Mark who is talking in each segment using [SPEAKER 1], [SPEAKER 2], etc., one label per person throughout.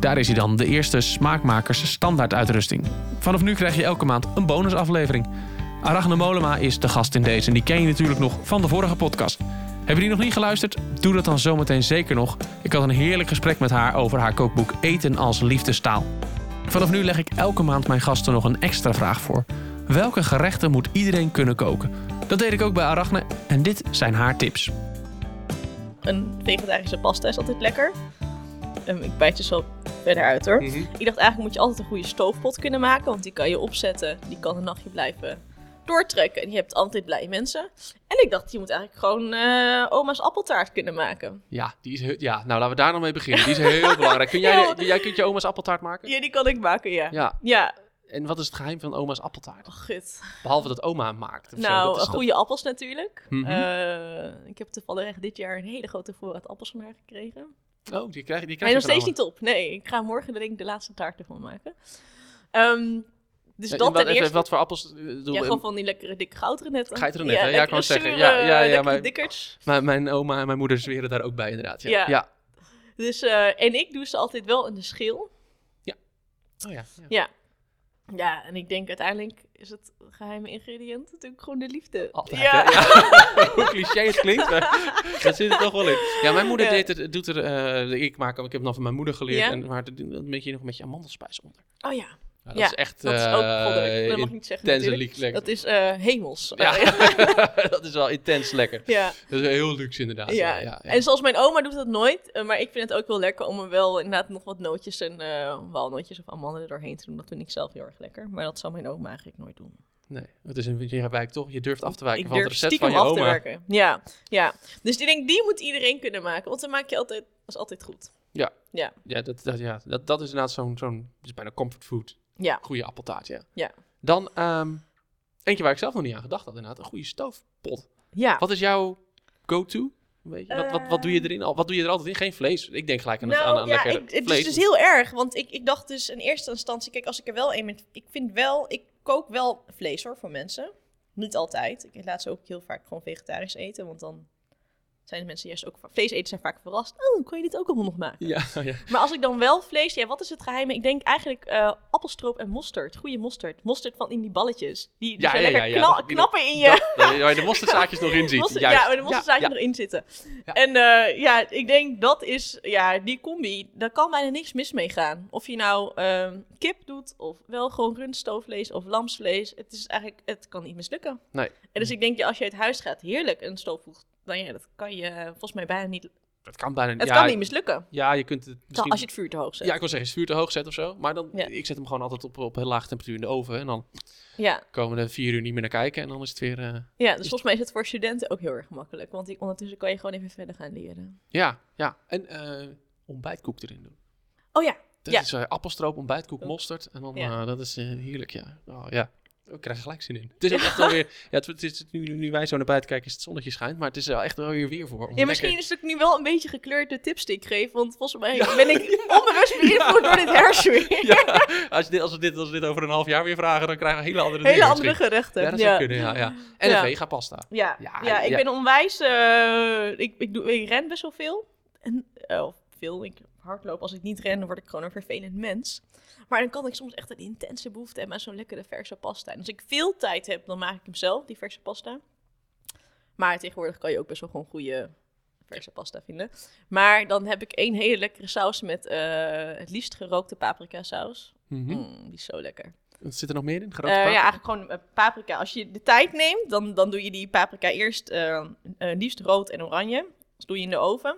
[SPEAKER 1] Daar is hij dan, de eerste smaakmakers standaarduitrusting. Vanaf nu krijg je elke maand een bonusaflevering. Arachne Molema is de gast in deze en die ken je natuurlijk nog van de vorige podcast. Heb je die nog niet geluisterd? Doe dat dan zometeen zeker nog. Ik had een heerlijk gesprek met haar over haar kookboek Eten als liefdestaal. Vanaf nu leg ik elke maand mijn gasten nog een extra vraag voor. Welke gerechten moet iedereen kunnen koken? Dat deed ik ook bij Arachne en dit zijn haar tips.
[SPEAKER 2] Een vegetarische pasta is altijd lekker. Ehm, ik bijt dus wel verder uit hoor.
[SPEAKER 1] Mhm.
[SPEAKER 2] Ik dacht eigenlijk moet je altijd een goede stoofpot kunnen maken. Want die kan je opzetten. Die kan een nachtje blijven doortrekken. En je hebt altijd blij mensen. En ik dacht je moet eigenlijk gewoon eh, oma's appeltaart kunnen maken.
[SPEAKER 1] Ja, die is, heel- ja, nou laten we daar dan mee beginnen. Die is heel belangrijk. Kun jij, de- jij kunt je oma's appeltaart maken?
[SPEAKER 2] Ja, die kan ik maken ja. Ja,
[SPEAKER 1] Ja. En wat is het geheim van oma's appeltaart?
[SPEAKER 2] oh gut.
[SPEAKER 1] Behalve dat oma hem maakt. of zo, dat
[SPEAKER 2] Nou,
[SPEAKER 1] is toch-
[SPEAKER 2] goede appels natuurlijk.
[SPEAKER 1] Mhm.
[SPEAKER 2] Eh, ik heb toevallig echt dit jaar een hele grote voorraad appels van haar gekregen.
[SPEAKER 1] Oh, die krijg, die
[SPEAKER 2] Hij
[SPEAKER 1] krijg
[SPEAKER 2] is
[SPEAKER 1] je
[SPEAKER 2] nog steeds
[SPEAKER 1] van
[SPEAKER 2] niet op. Nee, ik ga morgen denk ik de laatste taart ervan maken. Ehm, dus
[SPEAKER 1] oma.
[SPEAKER 2] dat
[SPEAKER 1] En wat,
[SPEAKER 2] ten
[SPEAKER 1] even,
[SPEAKER 2] eerste.
[SPEAKER 1] wat voor appels eh, doen
[SPEAKER 2] ja,
[SPEAKER 1] we?
[SPEAKER 2] gewoon van die lekkere dikke goudrenetten.
[SPEAKER 1] Goudrenetten, ja, ik
[SPEAKER 2] lekkere
[SPEAKER 1] wou zeggen.
[SPEAKER 2] zure,
[SPEAKER 1] Ja, ja, ja,
[SPEAKER 2] lekkere
[SPEAKER 1] maar-
[SPEAKER 2] dikkers.
[SPEAKER 1] Mijn, mijn oma en mijn moeder zweren daar ook bij inderdaad. Ja.
[SPEAKER 2] Ja.
[SPEAKER 1] ja.
[SPEAKER 2] Dus, eh, en ik doe ze altijd wel in de schil.
[SPEAKER 1] Oh ja. ja.
[SPEAKER 2] Ja, en ik denk uiteindelijk is het geheime ingrediënt natuurlijk gewoon de liefde.
[SPEAKER 1] Altijd,
[SPEAKER 2] ja.
[SPEAKER 1] hè? Ja. Hoe cliché het klinkt, maar dat zit er toch wel in. Ja, mijn moeder
[SPEAKER 2] Ja.
[SPEAKER 1] deed het, doet er, eh, ik maak hem, ik heb hem dan van mijn moeder geleerd,
[SPEAKER 2] Ja.
[SPEAKER 1] en, maar er doet een beetje nog een beetje amandelspijs onder.
[SPEAKER 2] Oh ja,
[SPEAKER 1] Ja, dat
[SPEAKER 2] Ja,
[SPEAKER 1] is echt
[SPEAKER 2] dat is ook
[SPEAKER 1] eh,
[SPEAKER 2] goddelijk. Dat mag ik niet zeggen
[SPEAKER 1] intens en
[SPEAKER 2] natuurlijk.
[SPEAKER 1] liek- lekker.
[SPEAKER 2] Dat is eh, hemels.
[SPEAKER 1] Ja, dat is wel intens lekker.
[SPEAKER 2] ja.
[SPEAKER 1] Dat is heel luxe inderdaad. Ja,
[SPEAKER 2] Ja.
[SPEAKER 1] Ah, ja, ja.
[SPEAKER 2] en zoals mijn oma doet dat nooit. eh, Maar ik vind het ook wel lekker om er wel inderdaad nog wat nootjes en eh, walnootjes of amandelen doorheen te doen. Dat vind ik zelf heel erg lekker. Maar dat zou mijn oma eigenlijk nooit doen.
[SPEAKER 1] Nee, het is een beetje wijk toch? Je durft af te wijken
[SPEAKER 2] ik
[SPEAKER 1] van het
[SPEAKER 2] durf
[SPEAKER 1] recept
[SPEAKER 2] stiekem
[SPEAKER 1] van je
[SPEAKER 2] af te
[SPEAKER 1] oma.
[SPEAKER 2] werken. Ja, ja. Dus ik denk, die moet iedereen kunnen maken. Want dan maak je altijd, dat is altijd goed.
[SPEAKER 1] Ja, dat, dat, ja dat, dat is inderdaad zo'n, zo'n het is bijna comfort food.
[SPEAKER 2] Ja.
[SPEAKER 1] Goede appeltaart, ja.
[SPEAKER 2] Ja.
[SPEAKER 1] Dan, ehm eentje waar ik zelf nog niet aan gedacht had inderdaad, een goede stoofpot.
[SPEAKER 2] Ja.
[SPEAKER 1] Wat is jouw go-to? Weet je? Wat, wat, wat doe je erin? al- Wat doe je er altijd in? Geen vlees. Ik denk gelijk aan, het, aan, aan
[SPEAKER 2] Nou, ja,
[SPEAKER 1] lekker
[SPEAKER 2] ik- het
[SPEAKER 1] vlees.
[SPEAKER 2] is dus heel erg. Want ik, ik dacht dus in eerste instantie, kijk, als ik er wel een met, ik vind wel, ik kook wel vlees hoor voor mensen. Niet altijd. Ik laat ze ook heel vaak gewoon vegetarisch eten, want dan zijn de mensen juist ook van vlees eten zijn vaak verrast. Oh, kan je dit ook allemaal nog maken?
[SPEAKER 1] Ja, ja.
[SPEAKER 2] Maar als ik dan wel vlees, ja, wat is het geheim? Ik denk eigenlijk eh, appelstroop en mosterd. Goede mosterd. Mosterd van in die balletjes. Die, die
[SPEAKER 1] Ja,
[SPEAKER 2] zijn
[SPEAKER 1] ja,
[SPEAKER 2] lekker
[SPEAKER 1] ja, ja,
[SPEAKER 2] kna-
[SPEAKER 1] dat- die-
[SPEAKER 2] knappen in je.
[SPEAKER 1] Dat, eh, waar je de mosterdzaadjes nog in ziet.
[SPEAKER 2] Mosterd-
[SPEAKER 1] Juist.
[SPEAKER 2] ja, oh, maar er moest er eigenlijk nog in zitten.
[SPEAKER 1] Ja.
[SPEAKER 2] En eh, ja, ik denk dat is, ja, die combi, daar kan bijna niks mis mee gaan. Of je nou ehm, kip doet, of wel gewoon rundstoofvlees of lamsvlees. Het is eigenlijk, het kan niet mislukken.
[SPEAKER 1] Nee.
[SPEAKER 2] En dus ik denk, ja, als je uit huis gaat, heerlijk een stoofvoeg. Dan ja, dat kan je eh, volgens mij bijna niet,
[SPEAKER 1] Dat kan bijna niet.
[SPEAKER 2] het
[SPEAKER 1] ja,
[SPEAKER 2] kan niet mislukken.
[SPEAKER 1] Ja, je kunt het misschien...
[SPEAKER 2] Als je het vuur te hoog zet.
[SPEAKER 1] Ja, ik wil zeggen, als je het vuur te hoog zet of zo. Maar dan,
[SPEAKER 2] Ja.
[SPEAKER 1] ik zet hem gewoon altijd op, op heel lage temperatuur in de oven. En dan
[SPEAKER 2] ja.
[SPEAKER 1] komen er vier uur niet meer naar kijken. En dan is het weer... eh,
[SPEAKER 2] Ja, dus volgens mij is het voor studenten ook heel erg makkelijk. Want die- ondertussen kan je gewoon even verder gaan leren.
[SPEAKER 1] Ja, ja. En eh, ontbijtkoek erin doen.
[SPEAKER 2] Oh ja,
[SPEAKER 1] Dat
[SPEAKER 2] Ja.
[SPEAKER 1] is eh, appelstroop, ontbijtkoek, mosterd. En dan,
[SPEAKER 2] Ja.
[SPEAKER 1] eh, dat is eh, heerlijk, ja. Oh, ja. Ik krijg er gelijk zin in. Het is ook echt alweer... Ja, het, het is, nu, nu wij zo naar buiten kijken, is het zonnetje schijnt. Maar het is er wel echt wel weer weer voor. om
[SPEAKER 2] Ja, misschien
[SPEAKER 1] lekker-
[SPEAKER 2] is het ook nu wel een beetje gekleurd de tips die ik geef. Want volgens mij ben ik onbewust beïnvloed door dit hersenen.
[SPEAKER 1] Ja, als, je dit, als, we dit, als we dit over een half jaar weer vragen, dan krijgen we hele andere
[SPEAKER 2] Hele
[SPEAKER 1] dingen
[SPEAKER 2] andere
[SPEAKER 1] misschien.
[SPEAKER 2] gerechten.
[SPEAKER 1] Ja, dat zou kunnen, ja. ja. En
[SPEAKER 2] Ja.
[SPEAKER 1] een vegapasta.
[SPEAKER 2] Ja,
[SPEAKER 1] Ja,
[SPEAKER 2] ja, ik
[SPEAKER 1] ja.
[SPEAKER 2] ben onwijs. eh, ik, ik, doe, ik ren best wel veel. En, eh, of veel. Ik hardloop. Als ik niet ren, dan word ik gewoon een vervelend mens. Maar dan kan ik soms echt een intense behoefte hebben aan zo'n lekkere verse pasta. En als ik veel tijd heb, dan maak ik hem zelf, die verse pasta. Maar tegenwoordig kan je ook best wel gewoon goede verse pasta vinden. Maar dan heb ik één hele lekkere saus met eh, het liefst gerookte paprika saus.
[SPEAKER 1] Mhm.
[SPEAKER 2] Mm, die is zo lekker.
[SPEAKER 1] Zit er nog meer in? Gerookte
[SPEAKER 2] Eh,
[SPEAKER 1] paprika?
[SPEAKER 2] ja, eigenlijk gewoon eh, paprika. Als je de tijd neemt, dan, dan doe je die paprika eerst eh, eh, liefst rood en oranje. Dus doe je in de oven.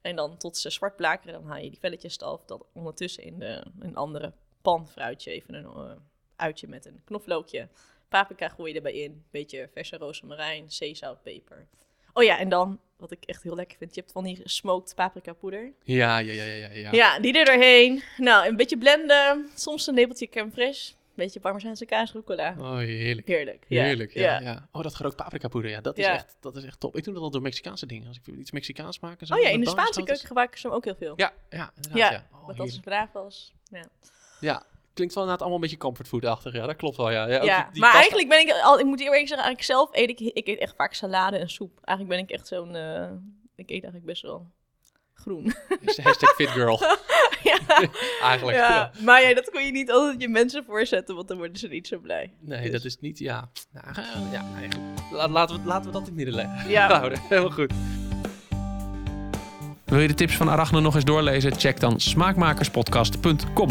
[SPEAKER 2] En dan tot ze zwart blakeren, dan haal je die velletjes eraf. Dan ondertussen in de, een andere pan fruitje, even een eh, uitje met een knoflookje. Paprika gooi je erbij in. Beetje verse rozemarijn, zeezout, peper. Oh ja, en dan, wat ik echt heel lekker vind, je hebt van die smoked paprika poeder.
[SPEAKER 1] Ja, ja, ja, ja, ja. ja.
[SPEAKER 2] Ja, die er doorheen. Nou, een beetje blenden. Soms een lepeltje crème fraîche. Een beetje parmezaanse kaas, rucola.
[SPEAKER 1] Oh, heerlijk.
[SPEAKER 2] Heerlijk. ja.
[SPEAKER 1] Heerlijk, ja, ja. Oh, dat gerookt paprikapoeder, ja, dat is,
[SPEAKER 2] Ja.
[SPEAKER 1] echt, dat is echt top. Ik doe dat al door Mexicaanse dingen. Als ik iets Mexicaans maak en zo.
[SPEAKER 2] Oh ja,
[SPEAKER 1] met
[SPEAKER 2] in de
[SPEAKER 1] bananen
[SPEAKER 2] Spaanse
[SPEAKER 1] zout is-
[SPEAKER 2] keuken gebruiken ze hem ook heel veel.
[SPEAKER 1] Ja, ja, inderdaad, ja.
[SPEAKER 2] Ja,
[SPEAKER 1] Oh,
[SPEAKER 2] Met als
[SPEAKER 1] heerlijk.
[SPEAKER 2] het braaf was. Ja,
[SPEAKER 1] ja, klinkt wel inderdaad allemaal een beetje comfortfood-achtig. Ja, dat klopt wel, ja. ja, ook
[SPEAKER 2] ja
[SPEAKER 1] die- die
[SPEAKER 2] maar
[SPEAKER 1] pasta-
[SPEAKER 2] eigenlijk ben ik al, ik moet eerlijk zeggen, eigenlijk zelf eet ik, ik eet echt vaak salade en soep. Eigenlijk ben ik echt zo'n, eh, ik eet eigenlijk best wel groen.
[SPEAKER 3] Hashtag fitgirl,
[SPEAKER 2] ja,
[SPEAKER 3] eigenlijk.
[SPEAKER 2] ja, maar ja, dat kun je niet altijd je mensen voorzetten, want dan worden ze niet zo blij.
[SPEAKER 3] Nee,
[SPEAKER 2] Dus-
[SPEAKER 3] dat is niet, ja. Nou, eh, ja eigenlijk. La- laten, we, laten we dat in het midden leggen.
[SPEAKER 2] Ja,
[SPEAKER 3] Houden. Helemaal goed.
[SPEAKER 1] Wil je de tips van Arachne nog eens doorlezen? Check dan smaakmakerspodcast.com.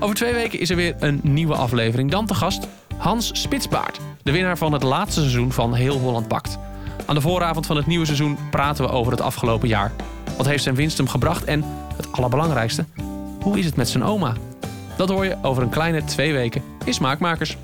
[SPEAKER 1] Over twee weken is er weer een nieuwe aflevering. Dan te gast Hans Spitsbaard, de winnaar van het laatste seizoen van Heel Holland Bakt. Aan de vooravond van het nieuwe seizoen praten we over het afgelopen jaar. Wat heeft zijn winst hem gebracht en, het allerbelangrijkste, hoe is het met zijn oma? Dat hoor je over een kleine twee weken in Smaakmakers.